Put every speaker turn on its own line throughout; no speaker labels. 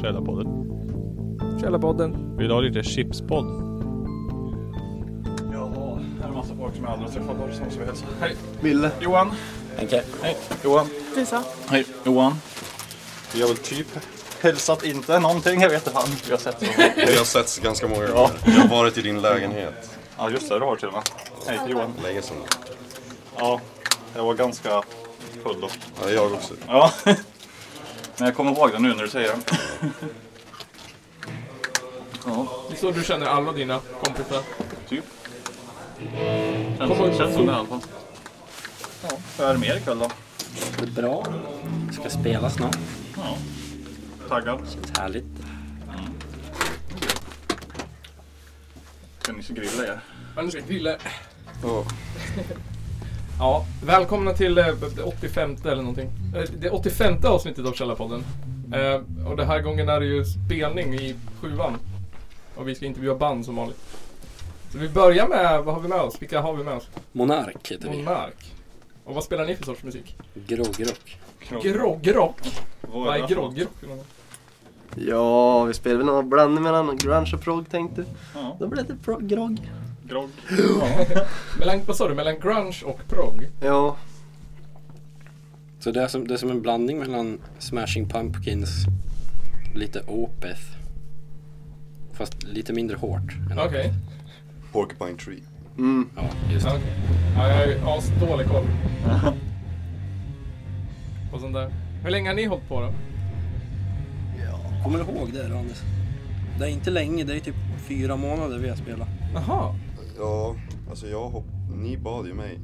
Källarpodden.
Källarpodden.
Vill du ha lite chipspodd?
Jaha, här är en massa folk som jag aldrig har träffat förut som ska hälsa. Hej! Ville. Johan.
Henke.
Hej. Johan.
Lisa.
Hej. Johan. Vi har väl typ hälsat inte någonting, jag vet inte fan. Vi har sett så.
Vi har setts ganska många gånger. Jag har varit i din lägenhet
Ja just det, det har du till och med. Hej till Johan.
länge sedan.
Ja, jag var ganska full då.
Ja, jag också.
Ja. Men jag kommer ihåg det nu när du säger det. Ja,
Så du känner alla dina kompisar?
typ.
Kom och-
Känns, känns som det i alla fall. Ja, vad är det mer ikväll då?
Det är bra. Ska spela snart.
Ja. Taggad?
Känns härligt.
Ska ni grilla er?
Ja, nu ska vi grilla. Ja, välkomna till eh, det 85 eller någonting. Eh, Det 85 avsnittet av Källarpodden. Eh, och den här gången är det ju spelning i sjuan. Och vi ska intervjua band som vanligt. Så vi börjar med, vad har vi med oss? Vilka har vi med oss?
Monark heter vi.
Monark. Och vad spelar ni för sorts musik?
Groggrock.
Groggrock?
Vad det
Vad är
för något?
groggrock?
Ja, vi spelar väl någon blandning mellan grunge och prog tänkte du.
Ja,
Då blir det pro- grogg.
grogg.
Mellan, vad sa du? Mellan grunge och prog?
Ja,
Så det är, som, det är som en blandning mellan Smashing Pumpkins och lite Opeth. Fast lite mindre hårt. än
Okej.
Opeth.
Porcupine Tree.
mm.
Ja, just
Ja,
det.
okej. Ja, jag har ju asdålig koll. Och sånt där. Hur länge har ni hållit på då?
Kommer du ihåg det då, Anders? Det är inte länge, det är typ fyra månader vi har spelat.
Jaha.
Ja, alltså jag hopp... Ni bad ju mig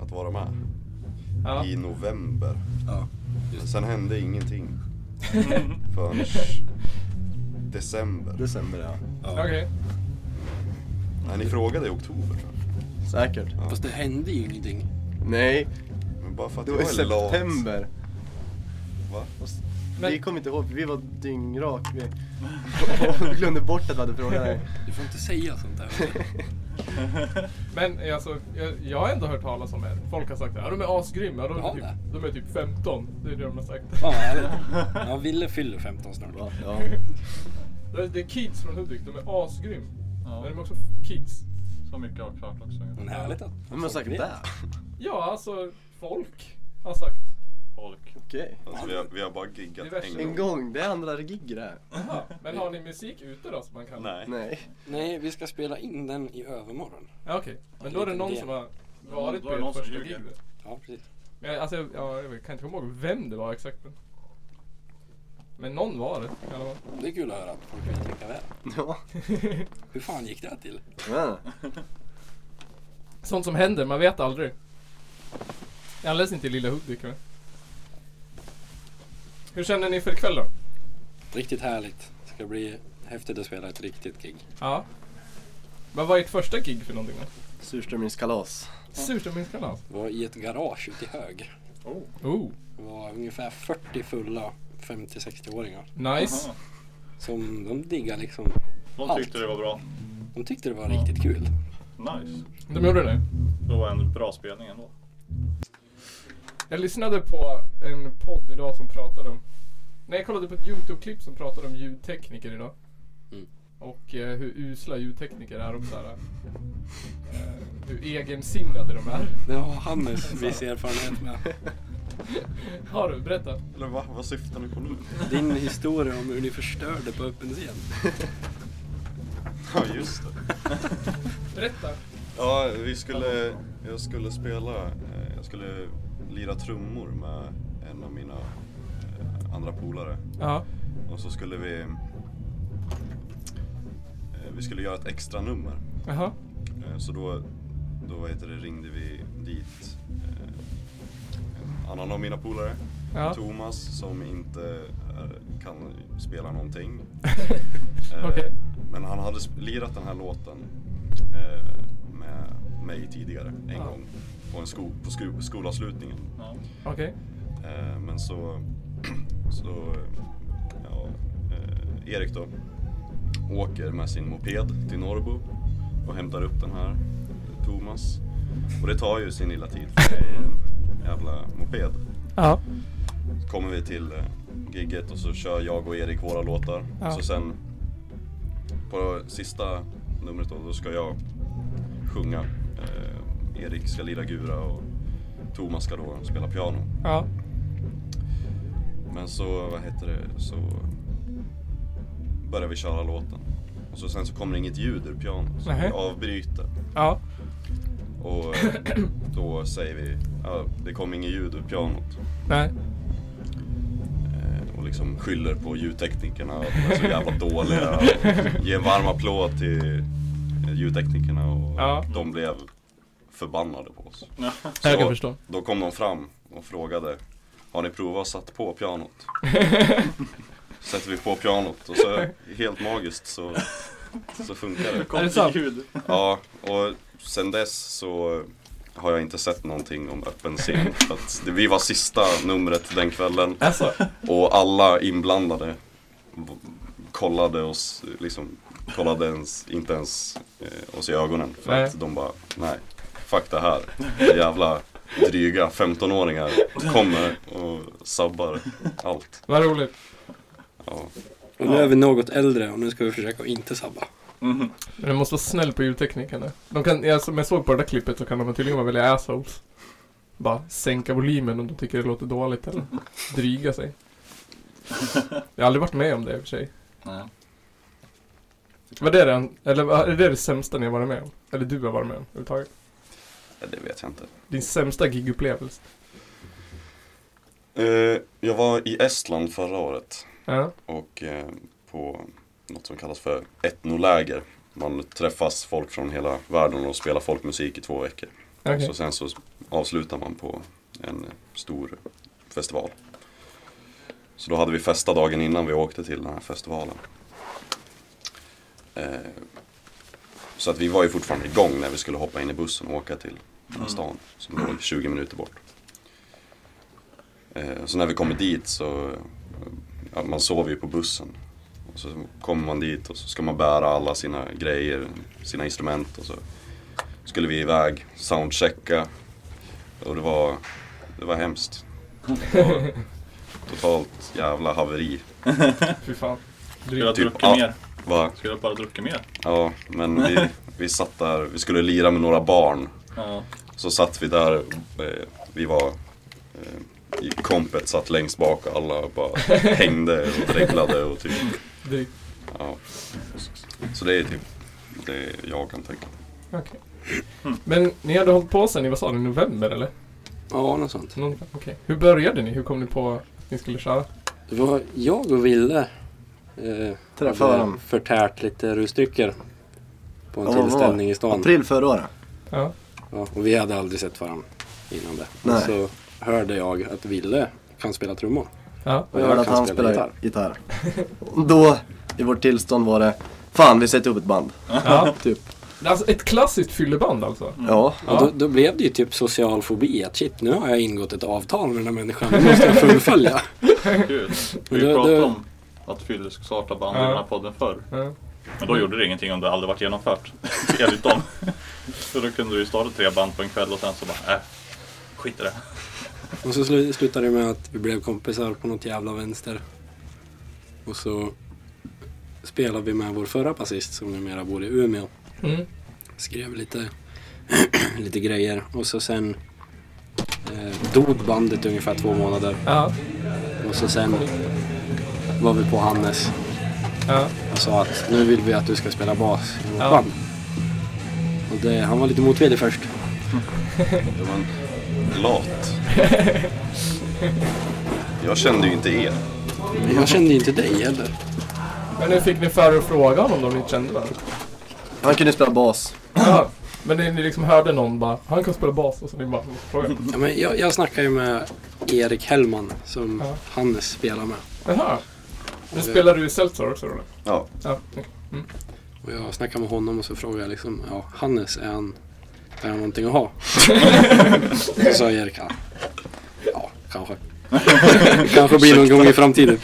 att vara med
Ja.
i november.
Ja.
Sen hände ingenting förrän december.
December ja.
Okej.
Nej, ni frågade i oktober tror jag.
Säkert.
Fast det hände ju ingenting.
Nej,
Men bara för att
det
jag
var i
är lat.
september.
Va?
Och s-
Men-
Vi kommer inte ihåg, vi var dyngrak. Vi glömde bort att vi hade frågat dig.
Du får inte säga sånt där.
Men eh, alltså, jag, jag har ändå hört talas om er. Folk har sagt att ja, de är asgrymma. De, är
Ja,
typ,
det.
de är typ 15. Det är det de har sagt.
Fan vad härligt. Ja, Ville fyller 15 snart.
Va? Ja.
Det är, det är kids från Hudik. De är asgrym.
Ja.
Men de är också f- kids.
Så mycket har klart också.
Men härligt att
Men man sagt
vet.
det.
Ja, alltså folk har sagt.
Folk.
Okej.
Alltså, vi, har, vi har bara giggat
Det är värsta-
en
En
gång.
gång, det är andra gig det här.
Jaha, Men har ni musik ute då som man kan?
Nej.
Nej.
Nej, vi ska spela in den i övermorgon.
Ja, Okej. Men då är det någon som har varit
Då
på
är det någon
ert
som
första
ljuger.
gig. då.
Ja, precis.
Jag, alltså, jag, ja, jag kan inte komma ihåg vem det var exakt. Men, men någon var det i alla fall.
Det är kul att höra att folk vet lika väl.
Ja.
Hur fan gick det här till?
ja.
Sånt som händer, man vet aldrig. Jag läser inte i Lilla Hudik. Men. Hur känner ni för ikväll då?
Riktigt härligt. Det ska bli häftigt att spela ett riktigt gig.
Ja. Vad var ert första gig för någonting då?
Surströmmingskalas.
Surströmmingskalas.
Var i ett garage ute i Hög.
Oh,
Det var ungefär 40 fulla 50-60-åringar.
nice.
Som de diggar liksom.
De
Allt.
tyckte det var bra.
De tyckte det var riktigt kul.
Nice.
De gjorde det.
Det var en bra spelning ändå.
Jag lyssnade på en podd idag som pratade om... Nej, jag kollade på ett YouTube-klipp som pratade om ljudtekniker idag.
Mm.
Och eh, hur usla ljudtekniker är och så här, eh, Hur egensinnade de är.
Det har Hannes viss erfarenhet med.
Har du? Berätta.
Eller va? Vad syftar ni på nu?
Din historia om hur ni förstörde på öppen scen.
Ja, just det.
Berätta.
Ja, vi skulle, jag skulle spela, eh, jag skulle lira trummor med en av mina eh, andra polare.
Ja.
Och så skulle vi, eh, vi skulle göra ett extra nummer.
Jaha.
Eh, Så då, då vad heter det, ringde vi dit eh, en annan av mina polare,
Ja.
Thomas, som inte eh, kan spela någonting. Eh,
Okej.
Men han hade sp- lirat den här låten eh, med mig tidigare en
Ja.
gång på, en sko- på sko- skolavslutningen.
Ja.
Okej.
Eh, men så, så eh, ja, eh, Erik då åker med sin moped till Norrbo och hämtar upp den här Thomas. Och det tar ju sin lilla tid för det är en jävla moped.
Ja.
Så kommer vi till eh, gigget och så kör jag och Erik våra låtar.
Ja.
Så sen på sista numret då, då ska jag sjunga. Eh, Erik ska lira gura och Thomas ska då spela piano.
Ja.
Men så, vad heter det, så börjar vi köra låten. Och så sen så kommer det inget ljud ur pianot, så
Nähä.
vi avbryter.
Ja.
Och eh, då säger vi, ja, det kom inget ljud ur pianot.
Nej.
Eh, Och liksom skyller på ljudteknikerna, att de är så jävla dåliga. Och ger en varm applåd till eh, ljudteknikerna och
Ja.
de blev förbannade på oss.
Det jag
Så-
kan förstå.
Då kom de fram och frågade Har ni provat att satt på pianot? Sätter vi på pianot och så helt magiskt så, så funkar det.
Är det sant?
ljud.
Ja, och sen dess så har jag inte sett någonting om öppen scen. För att det, vi var sista numret den kvällen
Alltså.
och alla inblandade v- kollade oss, liksom, kollade ens, inte ens eh, oss i ögonen. För
Nej.
att de bara, nej, fuck det här. Jävla dryga 15-åringar kommer och sabbar allt.
Vad roligt.
Ja.
Och nu är vi något äldre och nu ska vi försöka att inte sabba.
Mhm.
Men du måste vara snäll på ljudteknikerna. De kan, alltså, som jag såg på det där klippet så kan de tydligen vara väldigt assholes. Bara sänka volymen om de tycker det låter dåligt eller dryga sig. Jag har aldrig varit med om det i och för sig.
Nej.
Var det den, eller var- är det det sämsta ni har varit med om? Eller du har varit med om överhuvudtaget?
Ja, Det vet jag inte.
Din sämsta gigupplevelse?
Eh, jag var i Estland förra året
Ja.
och eh, på något som kallas för etnoläger. Man träffas folk från hela världen och spelar folkmusik i två veckor.
Okej.
Så sen så avslutar man på en stor festival. Så då hade vi festa dagen innan vi åkte till den här festivalen. Eh, så att vi var ju fortfarande igång när vi skulle hoppa in i bussen och åka till den här stan som låg 20 minuter bort. Eh, så när vi kommer dit så, eh, ja, man sover ju på bussen. Och så kommer man dit och så ska man bära alla sina grejer, sina instrument och så skulle vi iväg, soundchecka och det var, det var hemskt. Det var totalt jävla haveri.
Fy fan.
Skulle ha
Typ,
druckit
ja.
mer.
Va?
Skulle ha bara druckit mer.
Ja, men vi, vi satt där, vi skulle lira med några barn.
Ja.
Så satt vi där, eh, vi var eh, i kompet, satt längst bak och alla bara hängde och dreglade och typ.
Drygt.
Ja. Så det är typ det jag kan tänka.
Okej. Men ni hade hållit på sen i, vad sa ni, november eller?
Ja, något sånt.
Någon- Okej. Hur började ni? Hur kom ni på att ni skulle köra?
Det var jag och Ville. Eh,
Träffa
hade
varandra.
Förtärt lite rusdrycker. På en
Ja, vad var
tillställning i stan.
April förra året.
Ja.
Ja, och vi hade aldrig sett varandra innan det.
Nej.
Och så hörde jag att Ville kan spela trummor.
Ja.
Och jag hörde att
kan
han
spela
spelar gitarr. Och Då, i vårt tillstånd var det, fan vi sätter upp ett band.
ja.
Typ.
Alltså ett klassiskt fylleband alltså.
Mm.
Ja.
Och då, då blev det ju typ social fobi. Att shit, nu har jag ingått ett avtal med den här människan. Nu måste jag fullfölja.
Gud.
Men
Vi
det-
pratade
det-
om att Fylle skulle starta band i
Ja.
den här podden förr.
Ja.
Men då gjorde det ingenting om det aldrig varit genomfört. Enligt dem. För då kunde du ju starta tre band på en kväll och sen så bara, äh, skit i det.
Och så slu- slutade det med att vi blev kompisar på något jävla vänster. Och så spelade vi med vår förra basist som numera bor i Umeå.
Mm.
skrev lite, lite grejer och så sen eh, dog bandet ungefär två månader
Ja.
och så sen var vi på Hannes
Ja.
och sa att nu vill vi att du ska spela bas i vårt
Ja.
band. Och det, han var lite motvillig först.
Det var en lat. Jag kände ju inte er.
Men jag kände ju inte dig heller.
Men hur fick ni för att fråga honom då om ni inte kände varandra?
Han kunde spela bas.
Ja. Men ni, ni liksom hörde någon bara, han kan spela bas och så ni bara frågade.
Ja, men jag, jag snackade ju med Erik Hellman som
Ja.
Hannes spelar med.
Jaha. Nu spelar du i Seltzar också då?
Ja,
Ja. okej.
Och jag snackade med honom och så frågade jag liksom, ja Hannes, är han, är han någonting att ha? så sa Erik, ja, ja kanske. kanske blir någon gång i framtiden.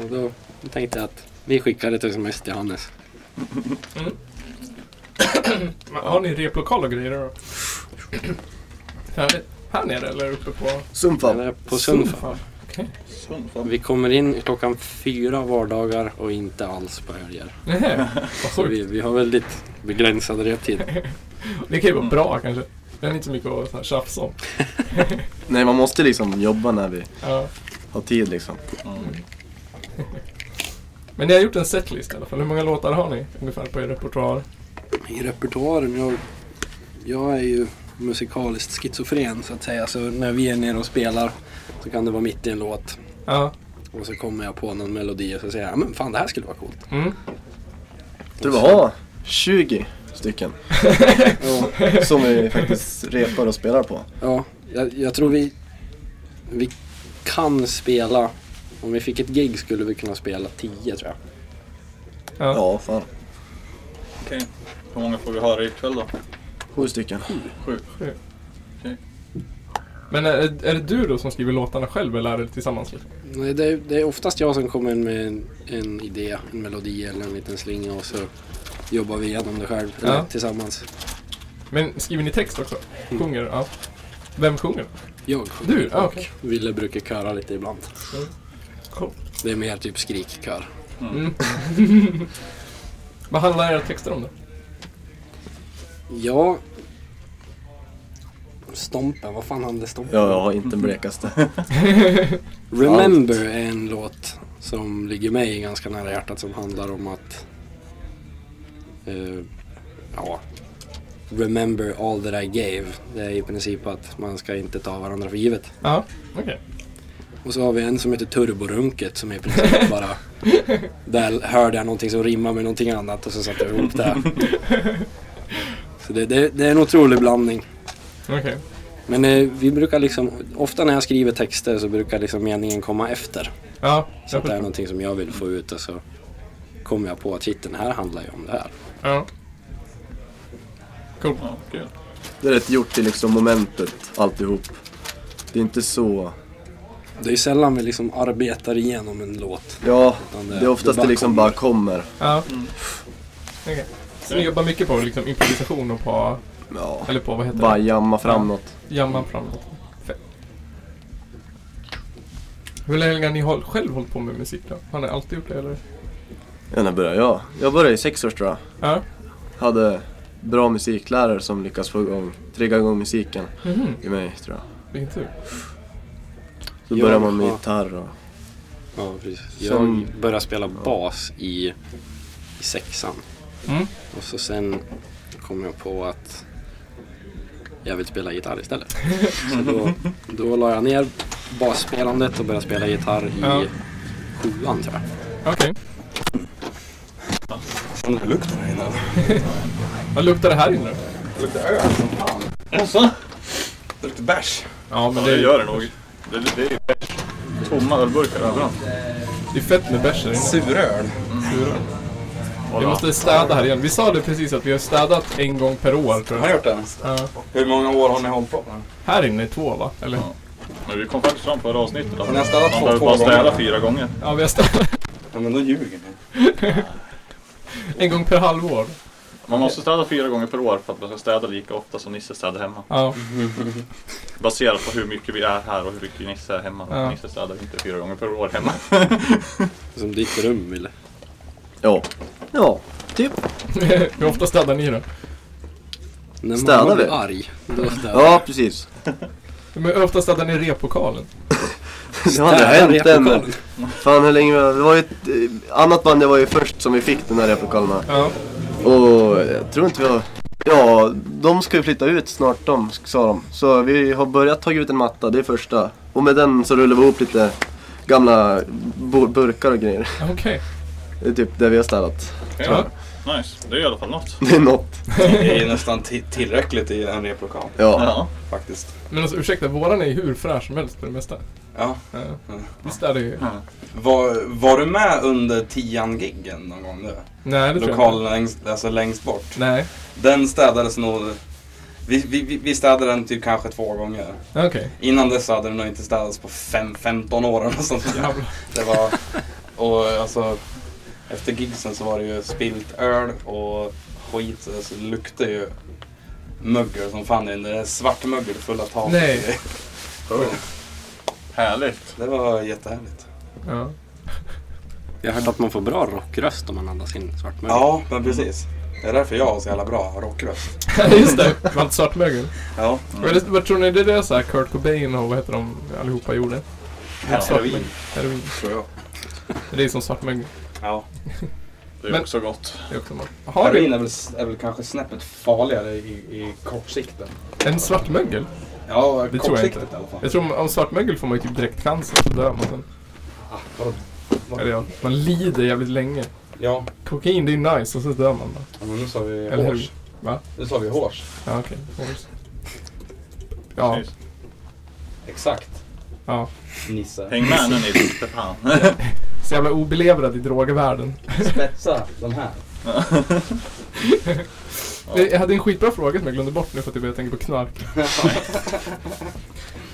Och då tänkte jag att vi skickar ett sms till Hannes.
Men, Har ni replokal och grejer då? Härligt. Här nere eller uppe på...
Den
Sumfab.
är på Sundfa.
Fan. Okej.
Sundfab.
Vi kommer in klockan fyra vardagar och inte alls på helger.
Nähä, vad
Så
sjukt.
vi, vi har väldigt begränsad reptid.
Det kan ju vara bra kanske. Det är inte så mycket att så här tjafsa om.
Nej, man måste liksom jobba när vi
Ja.
har tid liksom.
Men ni har gjort en setlist i alla fall. Hur många låtar har ni ungefär på er repertoar?
I repertoaren, jag, jag är ju musikaliskt schizofren så att säga. Så när vi är nere och spelar så kan det vara mitt i en låt.
Ja.
Och så kommer jag på någon melodi och så säger jag, "Ja, men fan det här skulle vara coolt.
Mm.
Du har 20 stycken
Ja,
som vi faktiskt repar och spelar på.
ja jag, jag tror vi, vi kan spela, om vi fick ett gig skulle vi kunna spela tio tror jag.
Ja.
Ja, fan.
Okej. Hur många får vi höra ikväll då?
Sju stycken.
Sju.
Men är, är det du då som skriver låtarna själv eller är det tillsammans? Liksom?
Nej, det, är, det är oftast jag som kommer med en, en idé, en melodi eller en liten slinga och så jobbar vi igenom det själv, eller
Ja.
tillsammans.
Men skriver ni text också? Sjunger? Ja. Vem sjunger?
Jag
Du? Ja,
och
okej.
Ville brukar köra lite ibland.
Cool.
Det är mer typ skrikkör.
Mm. Vad handlar era texter om då?
Ja... Stompen, vad fan hände Stompen?
Ja, jag har inte den blekaste.
Remember är en låt som ligger mig ganska nära hjärtat som handlar om att... eh, ja. Remember all that I gave. Det är i princip att man ska inte ta varandra för givet.
Ja, okej.
Och så har vi en som heter Turborunket som är i princip bara... Där hörde jag någonting som rimmar med någonting annat och så satte jag ihop det. här. Så det, det, det är en otrolig blandning.
Okej.
Men eh, vi brukar liksom, ofta när jag skriver texter så brukar liksom meningen komma efter.
Ja,
Så
jag
att det är
förstår.
någonting som jag vill få ut och så kommer jag på att shit, den här handlar ju om det här.
Ja. Cool.
Ja, kul.
Det är rätt gjort i liksom momentet, alltihop. Det är inte så...
Det är ju sällan vi liksom arbetar igenom en låt.
Ja,
utan
det är oftast det liksom bara kommer.
Ja.
Mm.
Okej. Så ni jobbar mycket på liksom, improvisation och på,
Ja,
eller på vad heter
bara
det?
jamma fram något.
Jamman framåt. Fett. Hur länge har ni håll, själv hållit på med musik då? Har ni alltid gjort det eller?
Ja, när började jag? Jag började i sex års tror jag.
Ja.
Hade bra musiklärare som lyckades få igång, trigga igång musiken
Mhm.
i mig tror jag.
Vilken tur.
Då
Ja,
började man med
ja.
gitarr och...
Ja, precis.
Som-
Jag började spela bas i, i sexan.
Mm.
Och så sen kom jag på att jag vill spela gitarr istället. Så då, då la jag ner basspelandet och började spela gitarr i
Ja.
sjuan tror jag.
Okej. Vad luktar det här inne då?
Jaså?
Det luktar bärs.
Ja men
Ja,
det
det
är,
gör det nog. Det, det är ju tomma ölburkar överallt.
det är fett med bärs här inne.
Suröl.
Sura. Vi
Kolla.
måste städa här igen. Vi sa det precis att vi har städat en gång per år tror
Har ni
jag.
gjort det?
Ja.
Hur många år har ni hållit på med den?
Här inne är två va? Eller?
Ja. Men vi kom faktiskt fram förra avsnittet att
Men jag städade
man
två-
behöver
två
bara städa
gånger.
fyra gånger.
Ja, vi har städat
Ja men då ljuger ni.
en gång per halvår.
Man måste städa fyra gånger per år för att man ska städa lika ofta som Nisse städar hemma.
Ja.
Baserat på hur mycket vi är här och hur mycket Nisse är hemma.
Ja.
Nisse städar inte fyra gånger per år hemma.
Som ditt rum ville.
Ja. Ja, typ.
Mm.
Hur ofta städar ni då?
När
Städar
mamma
vi?
blir arg, då städar
Ja, precis.
Men hur ofta städar ni replokalen?
Det har inte
Städa
hänt än.
replokalen.
men- Fan hur länge vi har... Det var ju ett eh, annat band, det var ju först som vi fick den här replokalen med.
Ja.
Och jag tror inte vi har... Ja, de ska ju flytta ut snart de, sa de. Så vi har börjat ta ut en matta, det är första. Och med den så rullar vi ihop lite gamla bur- burkar och grejer.
Okej.
Det är typ det vi har städat.
Ja.
Nice, det är i alla fall något.
Det är något.
Det är ju nästan ti- tillräckligt i en replokal
Ja.
Ja.
faktiskt.
Men alltså ursäkta, våran är ju hur fräsch som helst på det mesta.
Ja.
Ja. Vi städar ju.
Var, var du med under tian-giggen någon gång nu?
Nej, det tror jag
Lokalen
inte.
längst, alltså längst bort.
Nej,
Den städades nog... Vi, vi, vi- vi städade den typ kanske två gånger.
okej.
Innan dess hade den nog inte städats på fem, 15 år eller något sånt där.
Jävlar.
Det var... Och alltså... Efter gigsen så var det ju spilt öl och skit. så det luktade ju
mögel som fan. En eh, svart mögel full av tavlor.
Nej.
Härligt.
Det var jättehärligt.
Ja.
Jag har hört att man får bra rockröst om man andas in svart mögel.
Ja, men precis. Det är därför jag har så jävla bra rockröst.
Just det, Mount Svartmögel.
Ja.
Vad är det- Vad tror ni det är så här Kurt Cobain och vad heter de allihopa gjorde?
Heroin.
Heroin.
Tror jag.
Det är som svartmögel.
Ja.
Det är
Men-
också gott.
Det är också mat. Har
Heroin
du
är väl, är väl kanske snäppet farligare i, i kortsikten.
en svartmögel?
Ja,
Det tror jag
kortsiktigt
inte.
i alla fall.
Jag tror om- om svartmögel får man ju typ direkt cancer så dör man sen.
Ah, vadå?
Eller ja, man lider jävligt länge.
ja,
Kokain det är ju nice och så dör man bara.
men nu sa vi
Eller hur?
hårs.
Va?
Nu sa vi hårs.
Ja okej. Horse. Ja,
Precis.
Exakt.
ja.
Nisse.
Häng med nu ni för fan.
Så jävla obelevrad i drogvärlden.
Spetsa de här.
Jag hade en skitbra fråga som jag glömde bort nu för att jag började tänka på knark.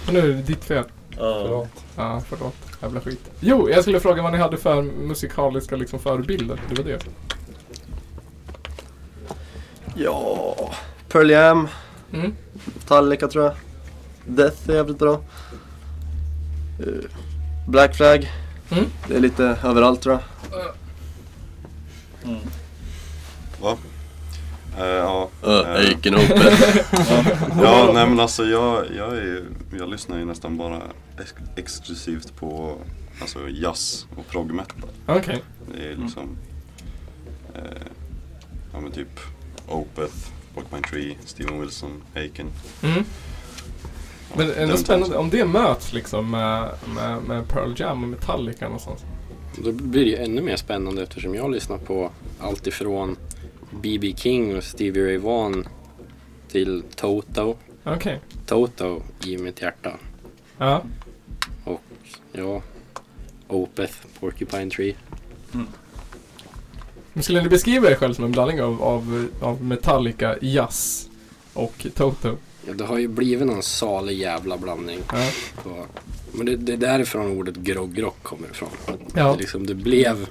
Och nu är det ditt fel.
Ja.
Förlåt.
Ja, förlåt. Jävla skit. Jo, jag skulle fråga vad ni hade för musikaliska liksom, förebilder. Det var det.
Ja... Pearl Jam,
Mm.
Metallica tror jag. Death är jävligt bra. Eh, Black Flag.
Mm.
Det är lite överallt tror jag.
Va? Eh, ja. eh,
can open.
ja, nej men alltså jag, jag, är, ju- jag lyssnar ju nästan bara ex- exklusivt på alltså, jazz och prog metal.
Okej.
Det är liksom, eh, ja men typ Opeth, Walk My Tree, Steven Wilson, Aiken.
Mm. Men ändå
Den
spännande. Om det möts liksom med, med, med Pearl Jam och Metallica någonstans.
Då blir det ju ännu mer spännande eftersom jag lyssnar på allt ifrån B.B. King och Stevie Ray Vaughan till Toto.
Okej.
Toto i mitt hjärta.
Ja.
Ja, Opeth, Porcupine Tree.
Men Skulle ni beskriva er själv som en blandning av, av, av Metallica, jazz och Toto?
Ja, det har ju blivit någon salig jävla blandning.
Ja.
på- Men det, det är därifrån ordet groggrock kommer ifrån.
Ja.
Det, liksom, det blev...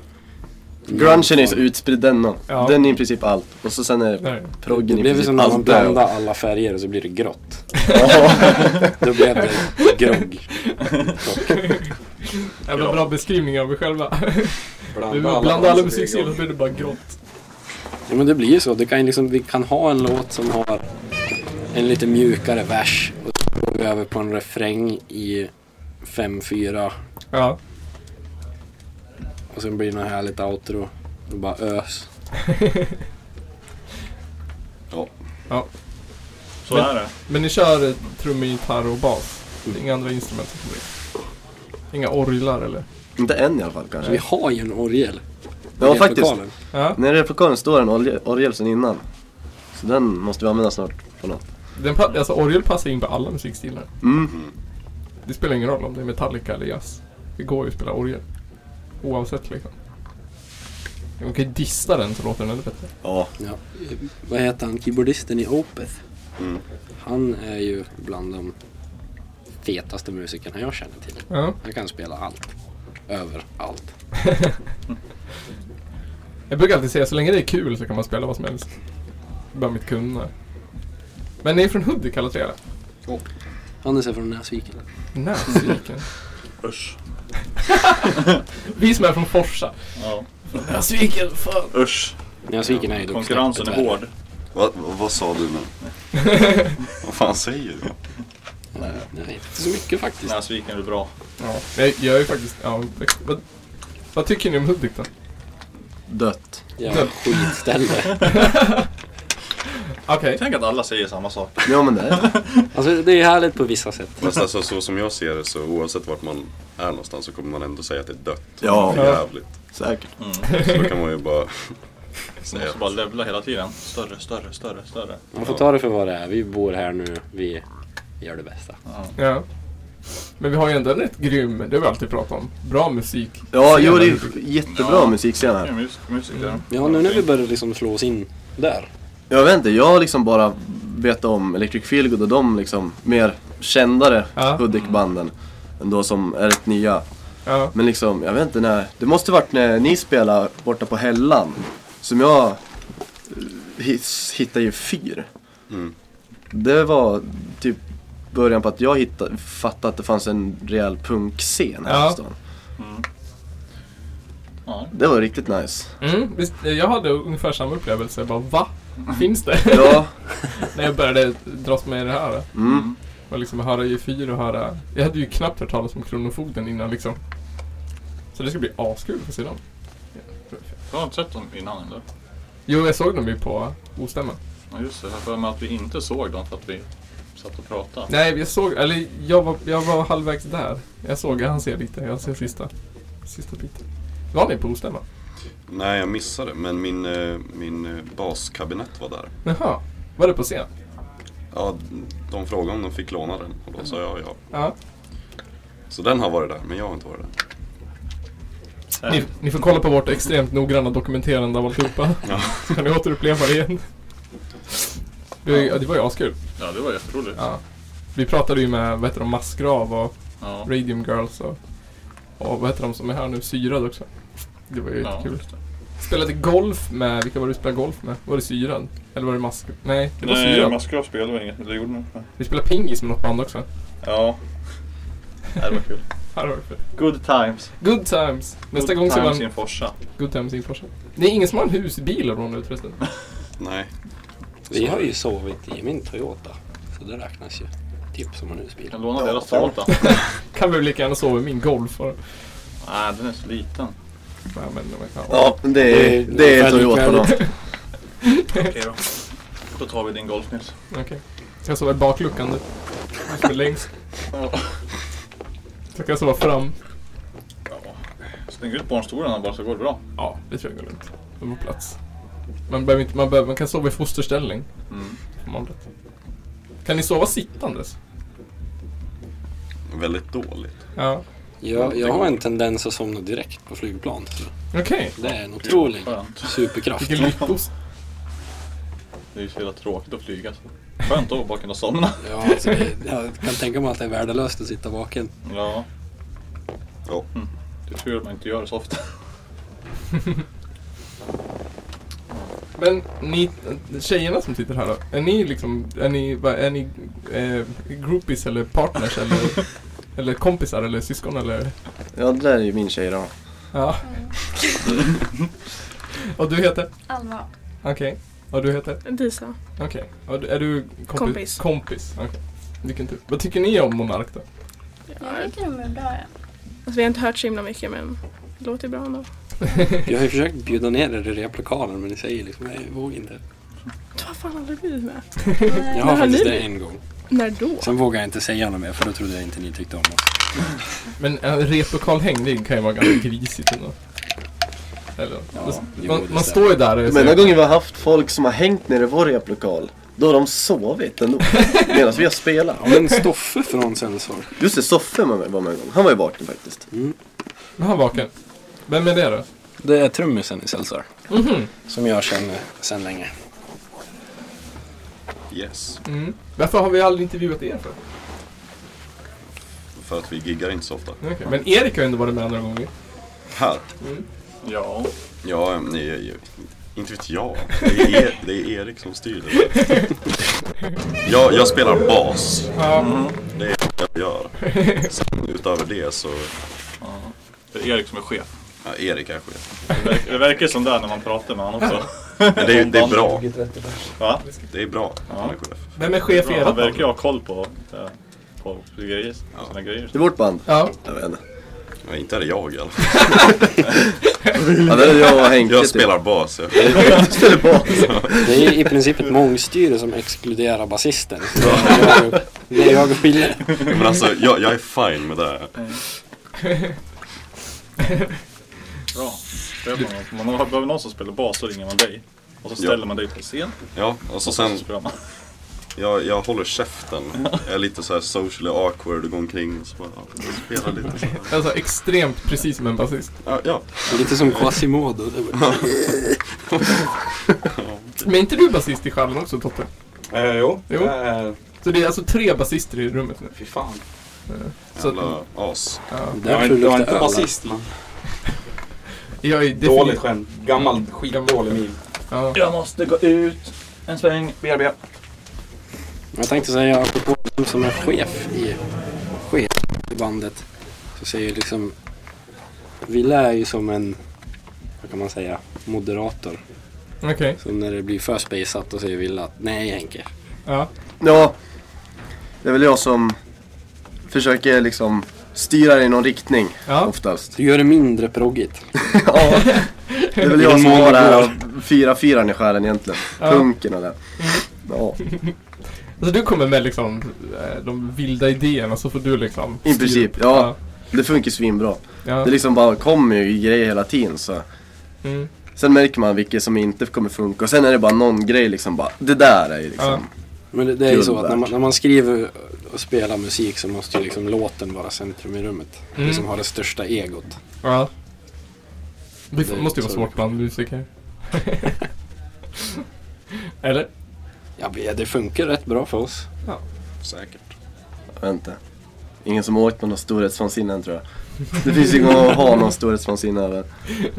Grungen är så utspridd den
Ja.
ja. Den är i princip allt. Och så sen är det
Där.
proggen
Det
i
blev ju
princip
som när man
allt där.
blandade alla färger och så blir det grått. Då blev det grogg.
Jävla bra beskrivning av er själva.
Blanda
Bland, alla
danser i
musikstilar
igång.
blir det bara grått.
Ja men det blir ju så. Det kan ju liksom, vi kan ha en låt som har en lite mjukare vers och så går vi över på en refräng i 5-4
Ja.
och sen blir det något härligt outro. Och bara ös.
Ja,
Så är det.
Men ni kör eh, trummor, gitarr och bas? Det är Inga andra instrument som kommer in? Inga orglar eller?
Inte än i alla fall kanske.
Vi har ju en orgel. i
Ja faktiskt.
replokalen.
Ja.
Nere i replokalen står en orge- orgel sen innan. Så den måste vi använda snart på något.
Den pa- alltså orgel passar in på alla musikstilar.
Mm.
Det spelar ingen roll om det är Metallica eller jazz. Det går ju att spela orgel. Oavsett liksom. Man kan ju dista den så låter den ännu bättre.
Ja.
Ja. Eh, Vad heter han, keyboardisten i Opeth?
Mm.
Han är ju bland de fetaste musikerna jag känner till.
Ja.
Han kan spela allt. Överallt.
Jag brukar alltid säga så länge det är kul så kan man spela vad som helst. Det är Bara mitt kunna. Men ni är från Hudik alla tre eller?
Han är så från Näsviken.
Näsviken.
Usch.
Vi som är från Forsa.
Ja.
Näsviken, fan.
Usch.
Näsviken är ju dock
Konkurrensen
snäppet
är
värre.
hård.
Va, va, vad sa du nu? vad fan säger du?
Nej, inte så mycket faktiskt.
Näsviken är bra.
Ja. Jag, jag är ju faktiskt, ja. Vad, vad tycker ni om Hudik då?
Dött.
Jävla skitställe.
Okej.
Tänk att alla säger samma sak.
Ja men det är
Alltså det är härligt på vissa sätt.
Fast alltså så som jag ser det så oavsett vart man är någonstans så kommer man ändå säga att det är dött.
Ja.
Det är jävligt.
säkert.
Så då kan man ju bara
Man
säga
måste bara levla hela tiden. Större, större, större, större.
Man får ta det för vad det är. Vi bor här nu. Vi gör det bästa.
Ja. Men vi har ju ändå en rätt grym, det har vi alltid pratat om, bra musik.
Ja, jo
Scenen.
det är ju jättebra
Ja.
musikscen
Det är
här.
mus- musik där.
Mm. Ja, nu när vi börjar liksom slå oss in där.
Jag vet inte, jag har liksom bara vet om Electric Feelgood och de liksom mer kändare
Ja.
Hudik-banden. Ändå som är rätt nya.
Ja.
Men liksom, jag vet inte när. Det måste varit när ni spelade borta på Hällan. Som jag eh, his- hittade ju fyr. det var typ början på att jag hittade, fattade att det fanns en rejäl punkscen här
Ja.
i stan.
Ja.
Det var riktigt nice.
Mm, visst, eh, jag hade ungefär samma upplevelse. Jag bara, va? Finns det?
Ja,
När jag började dras med i det här.
mm.
Och liksom höra EU4 och höra... Jag hade ju knappt hört talas om Kronofogden innan liksom. Så det ska bli askul att se dem.
Jag har inte sett dem innan eller?
Jo, jag såg dem ju på Ostämman.
Ja just det, jag har för mig att vi inte såg dem för att vi satt och pratade.
Nej, jag såg... Eller jag var, jag var halvvägs där. Jag såg, han ser lite. Jag ser sista. Sista biten. Var ni på Ostämman?
Nej, jag missade. Men min, eh, min eh, baskabinett var där.
Jaha. Var det på scen?
Ja, de frågade om de fick låna den och då sa jag ja.
Ja.
Så den har varit där, men jag har inte varit där.
Ni, ni får kolla på vårt extremt noggranna dokumenterande av alltihopa.
Ja.
Så kan ni återuppleva det igen. Det, var ju- ja, det var ju askul.
Ja, det var jätteroligt.
Ja. Vi pratade ju med, vad heter de, Massgrav och
Ja.
Radium Girls och, och vad heter de som är här nu, Syrad också. Det var ju
Ja,
kul.
just det.
Spelade golf med, vilka var det du spelade golf med? Var det Syrad? Eller var det Mask... Nej, det var
Nej,
Syrad.
Maskrav spelade väl inget, men det gjorde nog.
Vi spelade pingis med något band också.
Ja. Nej, det var kul.
Här har vi för.
Good times.
Good times! Nästa gång
Good
ska
times
man...
in Forsa.
Good times in Forsa. Det är ingen som har en husbil av dem nu förresten.
Nej.
Vi har ju sovit i min Toyota. Så det räknas ju. Typ som en husbil.
Kan låna deras Toyota.
Kan vi väl lika gärna sova i min golf. Och,
Nej, den är så liten.
ja, men, ja.
ja men det är, det är Toyota då.
Okej då. Då tar vi din Golf Nils.
Okej. Ska jag sova i bakluckan nu? För längst. Så kan jag sova fram.
Ja. Släng ut barnstolarna bara så går det bra.
Ja, det tror jag går lugnt. De får plats. Man, behöver inte, man, behöver, man kan sova i fosterställning.
Mm.
Om man vill. Kan ni sova sittandes?
Väldigt dåligt.
Ja.
Jag, jag har en tendens att somna direkt på flygplan. Så
Okej.
det är en otrolig
Skönt.
superkraft.
Vilken lyckos.
Det är ju så jävla tråkigt att flyga. så. Skönt då att bara kunna somna.
Ja, alltså det, jag kan tänka mig att det är värdelöst att sitta vaken.
Ja, Mm.
Ja.
det är tur att man inte gör det så ofta.
Men ni, tjejerna som sitter här då. Är ni liksom, är ni, vad- är ni eh, groupies eller partners eller, eller kompisar eller syskon eller?
Ja, det där är ju min tjej då.
Ja. Och du heter?
Alva.
Okej. Och du heter?
Disa.
Okej. Och du- Är du kompi-
Kompis.
Kompis, okej. Vilken tur. Vad tycker ni om Monark då?
Jag tycker de är bra ja.
Alltså, vi har inte hört så himla mycket men det låter bra ändå.
Jag har ju försökt bjuda ner er i replokalen men ni säger liksom nej, jag vågar inte.
Du har fan aldrig blivit med.
Jag
Nej,
har
Vad har
faktiskt
ni?
det en gång.
När då?
Sen vågar jag inte säga något mer för då trodde jag inte ni tyckte om oss.
Men en repokalhäng, det kan ju vara ganska grisigt ändå. Eller?
jo,
man,
det
man
stämmer.
står ju där och
De enda
säger,
gången vi har haft folk som har hängt nere i vår replokal, då har de sovit ändå. Medan vi har spelat.
Ja, men Stoffe från Sensor.
Just det, Soffe var med var med en gång. Han var ju vaken faktiskt.
men han vaken. Vem är det då?
Det är trummisen i Sensor.
Mhm.
Som jag känner sedan länge.
Yes.
Mm. Varför har vi aldrig intervjuat er för?
För att vi giggar inte så ofta.
Okej, Men Erik har ju ändå varit med några gånger.
Här.
Ja.
Ja, nej, jag- inte vet jag. Det är, E- det är Erik som styr det där. jag, jag spelar bas. Mm. Det är det jag gör. Sen utöver det så...
Det är Erik som är chef.
Ja, Erik är chef.
Det verkar, det verkar som där när man pratar med honom också.
Men det är, det är bra.
Va?
Det är bra att han är chef.
Vem är chef
Ja,
i
Han
ert band?
verkar ju ha koll på, eh, på grejer, sina grejer.
Det är vårt band.
Ja.
Jag vet inte.
Ja, inte är det jag i alla fall.
Ja, det är jag och Henke.
Jag
typ.
spelar bas. Jag.
spelar bas.
Det är i princip ett mångstyre som exkluderar basisten. Så det är jag och- Det är jag och Pille.
Men alltså, jag, jag är fine med det.
Bra. Spelar Man, man har- behöver någon som spelar bas så ringer man dig. Och så
Ja.
ställer man dig på scen
Ja, och så
och sen
sen,
spelar man.
jag, jag håller käften. Jag är lite så här socially awkward och går omkring och så bara, ja, jag spelar lite så här.
Alltså extremt precis som en basist.
Ja, ja.
Lite som Quasimodo. Det var-
Men är inte du basist i Challen också Totte?
Eh, jo.
Jo.
Eh,
Så det är alltså tre basister i rummet nu.
fy fan.
Så att,
Jävla as.
Jag
Därför
är inte, jag är
luktar
inte
öl.
basist man.
jag är
Dåligt
definitivt...
skämt. Gammal skitdålig min.
Ja.
Jag måste gå ut en sväng, BRB.
Jag tänkte säga, apropå vem som är chef i, chef i bandet, så säger jag liksom Ville är ju som en, vad kan man säga, moderator.
Okej.
Så när det blir för spejsat då säger Ville att nej Henke.
Ja.
Ja, det är väl jag som försöker liksom styra det i någon riktning
Ja.
oftast.
Du gör det mindre proggigt.
ja, det är väl jag som
Många
har det här
år.
fyra fyran i själen egentligen.
Ja. Mm.
Punken och det. Ja,
Alltså du kommer med liksom eh, de vilda idéerna så får du liksom...
I princip,
styra.
ja. det funkar svinbra.
Ja.
Det liksom bara kommer ju grejer hela tiden så.
Mm.
Sen märker man vilket som inte kommer funka och sen är det bara någon grej liksom bara, det där är ju liksom.
Men det, det är ju så att när
Guldvärt.
man, när man skriver och spelar musik så måste ju liksom låten vara centrum i rummet.
Mm.
Det som har det största egot.
Ja. Det,
Det är
måste ju vara
så.
svårt bland musiker. Eller?
Ja, det funkar rätt bra för oss.
Säkert.
Jag vet inte. Ingen som har åkt på någon storhetsvansinne än tror jag. Det finns ju ingen att ha någon storhetsvansinne över.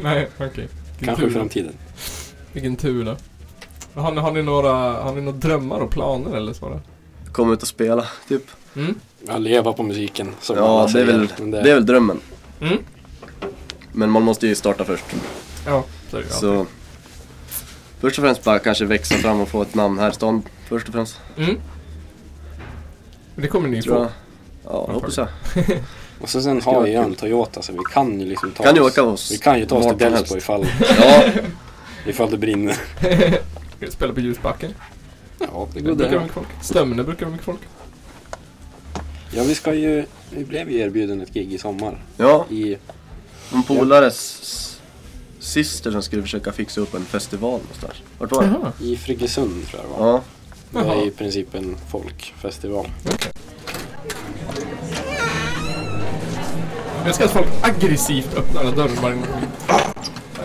Nej, okej. Vilken
Kanske i
Mm.
tur.
framtiden.
Vilken tur då. Har ni, har, ni några, har ni några drömmar och planer eller så? Då?
Komma ut och spela, typ.
Mm?
Ja, leva på musiken som
Ja,
alla
det är,
säger.
väl,
Men
det är väl drömmen.
Mm?
Men man måste ju starta först.
Ja, så är det ju alltid.
Så först och främst bara kanske växa fram och få ett namn här i stan. Först och främst.
Mm? Men Det kommer ni
Tror
få.
jag. Ja, det hoppas jag.
Och så sen har vi ju en Toyota så vi kan ju liksom ta
Kan ju
oss,
åka oss
Vi kan ju ta oss till
vart som
Delsbo
helst.
ifall,
Ja,
ifall det brinner.
Ska ni Spela på ljusbacken.
Ja,
Det
det
brukar
går
vara
där.
mycket folk. Stömne brukar vara mycket folk.
Ja, vi ska ju... Vi blev ju erbjuden ett gig i sommar.
ja.
I...
En polares s- syster som skulle försöka fixa upp en festival någonstans. Vart var det?
Jaha.
I Friggesund tror jag det var.
Ja.
Det
Jaha.
är i princip en folkfestival.
Jag älskar att folk aggressivt öppnar alla dörrar bara innan de-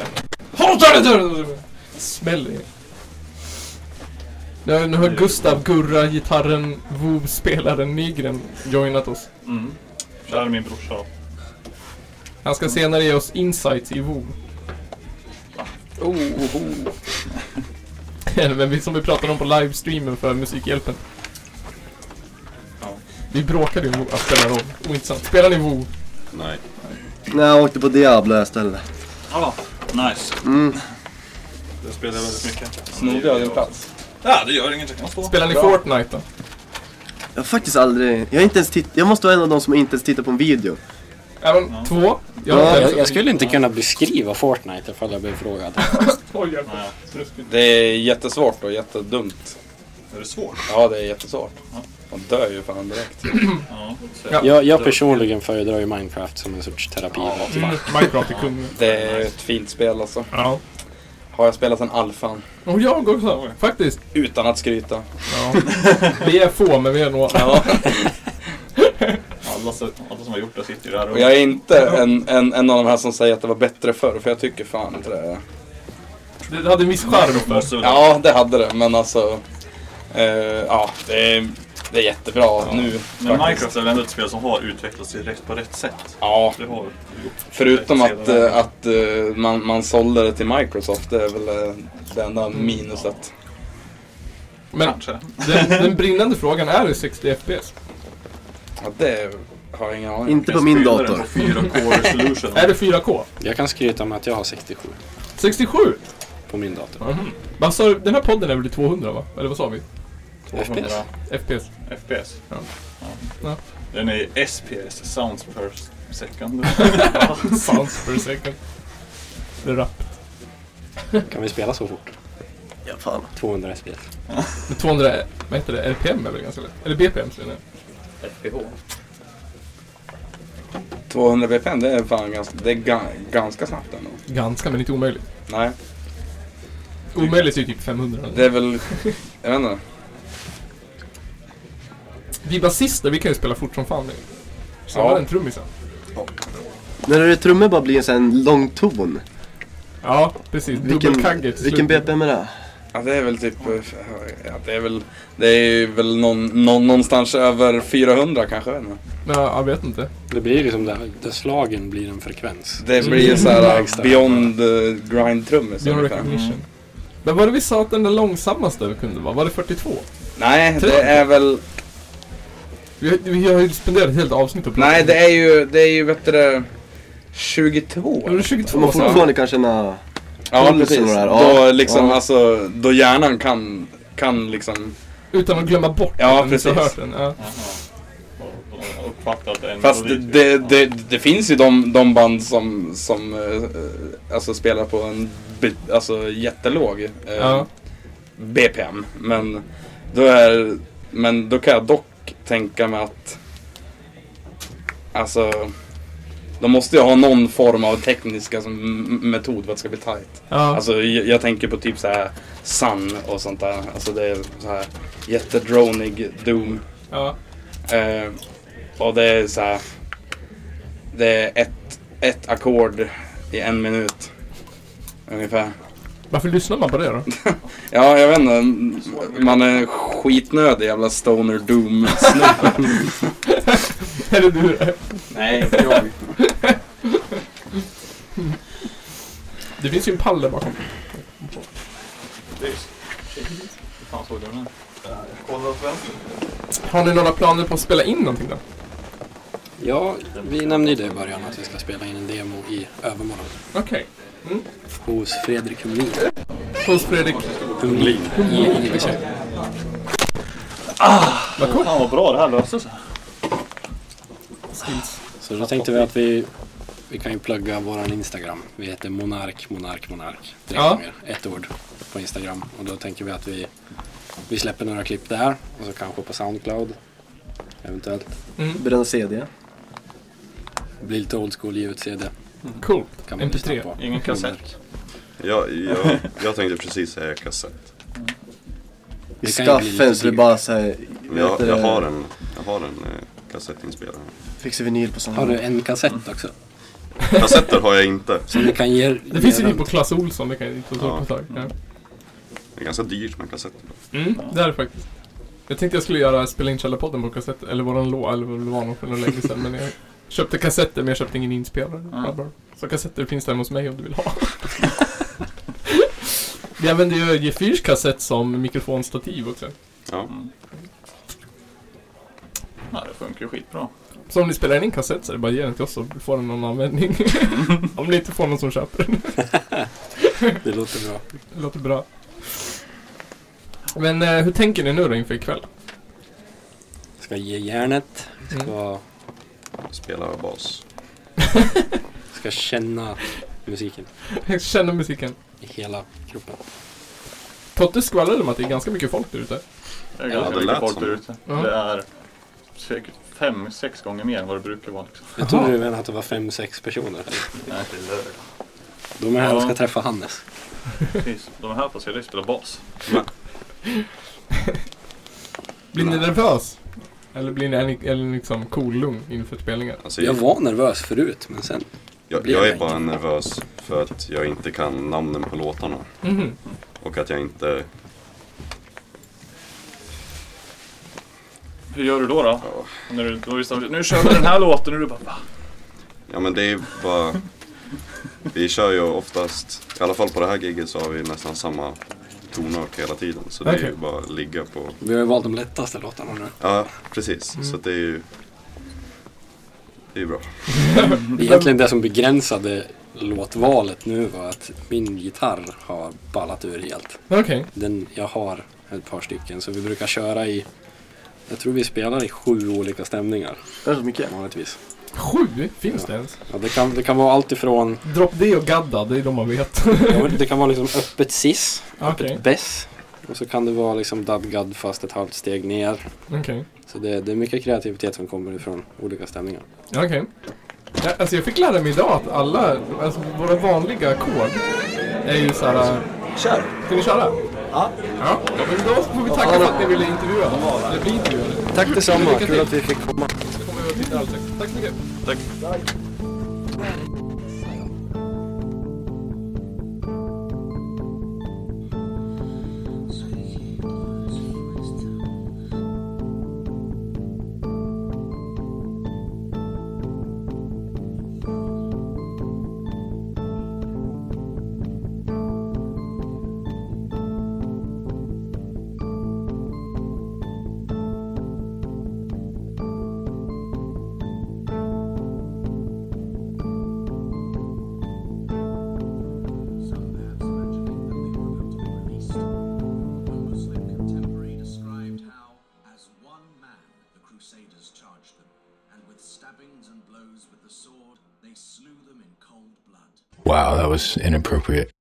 Håll dörren, dörren! Smäller igen. Nu, nu har Gustav, Gurra, gitarren, Vov, spelaren Nygren joinat oss.
Mm. Kär min brorsa.
Han ska senare ge oss insights i Vov.
Oh, oh, oh.
Men vi, som vi pratade om på livestreamen för Musikhjälpen.
Ja.
Vi bråkade ju om Vov. Ah, spelar roll. Ointressant. Spelar ni Vov?
Nej.
Nej, jag åkte på Diablo istället.
Ja, nice.
Mm.
Det spelar jag väldigt mycket.
Snor du din plats?
Ja, det gör ingenting. Jag står.
Spelar ni Fortnite då?
Jag har faktiskt aldrig... Jag har inte ens tittat... Jag måste vara en av de som inte ens tittar på en video.
Även två? Jag har
Ja,
inte ens-
Jag, jag skulle inte kunna beskriva Fortnite ifall jag blev frågad.
Oj, jävlar.
Nej,
Det är jättesvårt och jättedumt.
är det svårt?
Ja, det är jättesvårt.
Ja.
Man dör ju fan direkt.
Ja.
Ja.
Jag, jag personligen föredrar ju Minecraft som en sorts terapi.
Mm, Minecraft är kung.
Det är ett fint spel alltså.
Ja.
Har jag spelat sen alfan.
Och jag också, faktiskt.
Utan att skryta.
Ja. Vi är få, men vi är några.
Ja.
Alla, se- alla som har gjort det sitter ju där
Och jag är inte en, en, en av de här som säger att det var bättre förr, för jag tycker fan inte det.
Det hade en viss charm för.
Måste väl-
Ja, det hade det, men alltså. eh, ja, det är, det är jättebra nu.
Men
faktiskt.
Minecraft är väl ändå ett spel som har utvecklats i rätt, på rätt sätt?
Ja,
Det har gjort.
förutom
Utvecklats
att,
hela
eh,
vägen.
att eh, man, man sålde det till Microsoft, det är väl eh, det enda minuset.
Men
Kanske.
den, den brinnande frågan är ju 60 FPS.
Ja, det har jag ingen aning om.
Inte på min
Spelaren
dator.
På 4K resolution.
Är det 4K?
Jag kan skryta med att jag har 67
67?
på min dator.
Mhm. Vad sa du? Den här podden är väl i 200, va? Eller vad sa vi?
200
FPS.
FPS?
FPS.
Ja. Ja.
Ja. Den är SPS, sounds per second.
Sounds per second. Det är rapp.
Kan vi spela så fort?
Ja, fan.
200 FPS.
Men 200, är- vad heter det? RPM är väl ganska lätt? Eller BPM, säger ni?
FPH.
200 bpm, det är fan ganska, det är ga- ganska snabbt ändå.
Ganska, men inte omöjligt.
Nej,
Omöjligt är ju typ 500.
det är väl, jag vet inte.
Vi basister, vi kan ju spela fort som fan. Snabbare
Ja.
än trummisen.
När det är trummor bara blir en sån här lång ton.
Ja, precis.
Vilken,
Dubbelkagge till
vilken
slut.
BPM är det?
Ja, det är väl typ, eh, ja, det är väl, det är väl någon, någon, någonstans över 400 kanske, jag vet inte.
Men jag, jag vet inte.
Det blir ju som det här, där slagen blir en frekvens.
Det blir ju såhär eh, beyond eh, grind trummis
Beyond
ungefär.
recognition. Men var det vi sa att den där långsammaste kunde vara? Var det 42?
Nej, det är väl...
Vi, har- vi har ju spenderat ett helt avsnitt att prata
Nej,
om
det är ju, det är ju bättre 22.
Ja, det är 22
Man får
så.
fortfarande kanske känna...
Ja,
Pulsen
precis.
där, ja.
Då liksom,
Ja.
alltså, då hjärnan kan, kan liksom...
Utan att glömma bort
Ja,
att man inte har
precis.
hört den. Ja.
Och- och Uppfattat att det är en
Fast det,
melodi, typ.
det, det, det finns ju de, de band som, som eh, alltså, spelar på en bit- alltså, jättelåg eh,
Ja.
BPM. Men då, är, men då kan jag dock tänka mig att alltså, de måste ju ha någon form av teknisk alltså, m- m- metod för att det ska bli tight.
Ja.
Alltså, jag, jag tänker på typ så här Sun och sånt där. Alltså, det är så här jättedronig doom.
ja.
Eh, och det är så här. Det är ett, ett ackord i en minut. Ungefär.
Varför lyssnar man på det då?
Ja, jag vet inte. Man är skitnödig jävla stoner doom snubbe.
Eller du?
Nej, inte jag.
Det finns ju en pall där bakom.
Det är ju- Hur fan såg du den? här?
Har ni några planer på att spela in någonting då?
Ja, vi nämnde ju det i början att vi ska spela in en demo i övermorgon.
Okej.
Hos Fredrik Humlin.
Hos Fredrik.
Humlin. I IBC.
Fan vad bra det här löste sig.
Så då tänkte vi att vi, vi kan ju plugga våran Instagram. Vi heter Monark, Monark, Monark. Tre
Ja.
gånger, ett ord på Instagram. Och då tänker vi att vi, vi släpper några klipp där och så kanske på Soundcloud. Eventuellt.
Bränna CD.
Det blir lite old school, ge ut CD.
Cool.
Kan man lyssna
MP3.
på.
Ingen kassett.
Jag, jag, jag tänkte precis säga kassett.
I
Det kan ju bli lite
skaffen så det bara såhär...
Men jag, jag har en, jag har en eh, kassettinspelare.
Fixar vinyl på
Har
sådana.
du en kassett också?
Kassetter har jag inte.
Som du kan ge
Det finns ju typ på Clas Ohlson, det kan jag inte ta
Ja.
på tag. Ja.
Det är ganska dyrt med kassetter.
Mm, det är det faktiskt. Jag tänkte jag skulle göra Spela in Källarpodden på kassett, eller våran låt, eller vad det var nog för några länge sedan. Men jag köpte kassetter, men jag köpte ingen inspelare. Ja, bra. Så kassetter finns där hos mig om du vill ha. Vi använder ju Gefyrs kassett som mikrofonstativ också.
Ja.
Ja, det funkar ju skitbra.
Så om ni spelar in en kassett så är det bara att ge den till oss så får den någon användning. om ni inte får någon som köper den.
Det låter bra.
Det låter bra. Men eh, hur tänker ni nu då inför ikväll?
Ska ge järnet. Ska,
Mm.
Spela bas.
ska känna musiken
Jag känner musiken.
i hela kroppen.
Totte skvallrade om att det är ganska mycket folk där ute.
Det är ganska
det
mycket
lät
folk
som
där
det.
ute.
Ja.
Det är säkert fem, sex gånger mer än vad det brukar vara. Liksom.
Jag trodde du menade att det var fem, sex personer.
Nej, det är lördag.
De är här och ska
Ja.
träffa Hannes.
Precis. De här får se dig spela bas.
Blir ni nervös? Eller blir ni en, eller liksom cool lugn inför spelningar?
Alltså,
Jag var nervös förut, men sen
jag, jag är bara nervös för att jag inte kan namnen på låtarna.
Mhm.
Och att jag inte...
Hur gör du då? Då, när du, då bestämmer du, nu kör vi den här låten och du bara va?
Ja men det är bara... Vi kör ju oftast, i alla fall på det här giget så har vi nästan samma tonart hela tiden. Så det är
Okej.
ju bara att ligga på...
Vi har ju valt de lättaste låtarna nu.
Ja, precis. Så att det är ju... Det är ju bra.
Det är egentligen det som begränsade låtvalet nu var att min gitarr har ballat ur helt.
Okej.
Den, jag har ett par stycken, så vi brukar köra i... Jag tror vi spelar i sju olika stämningar
Är det så mycket?
vanligtvis.
Sju? Finns det ens?
Ja, det, kan, det kan vara allt ifrån...
Drop D och Gadda, det är de man vet.
ja, Det kan vara liksom öppet cis,
Okej.
öppet bess. Och så kan det vara liksom dub-gud fast ett halvt steg ner.
Okej.
Så det, det är mycket kreativitet som kommer ifrån olika stämningar.
Okej. Ja, alltså jag fick lära mig idag att alla, alltså våra vanliga ackord är ju såhär...
Kör!
Ska ni köra?
Ja.
Ja. Men då får vi tacka för att ni ville intervjua. Eller bli intervjuade.
Tack detsamma,
Lycka
kul
till.
att vi fick komma.
Så kommer vi och tittar alltid. Tack så mycket.
crusaders charged them, and with stabbings and blows with the sword, they slew them in cold blood.
Wow, that was inappropriate.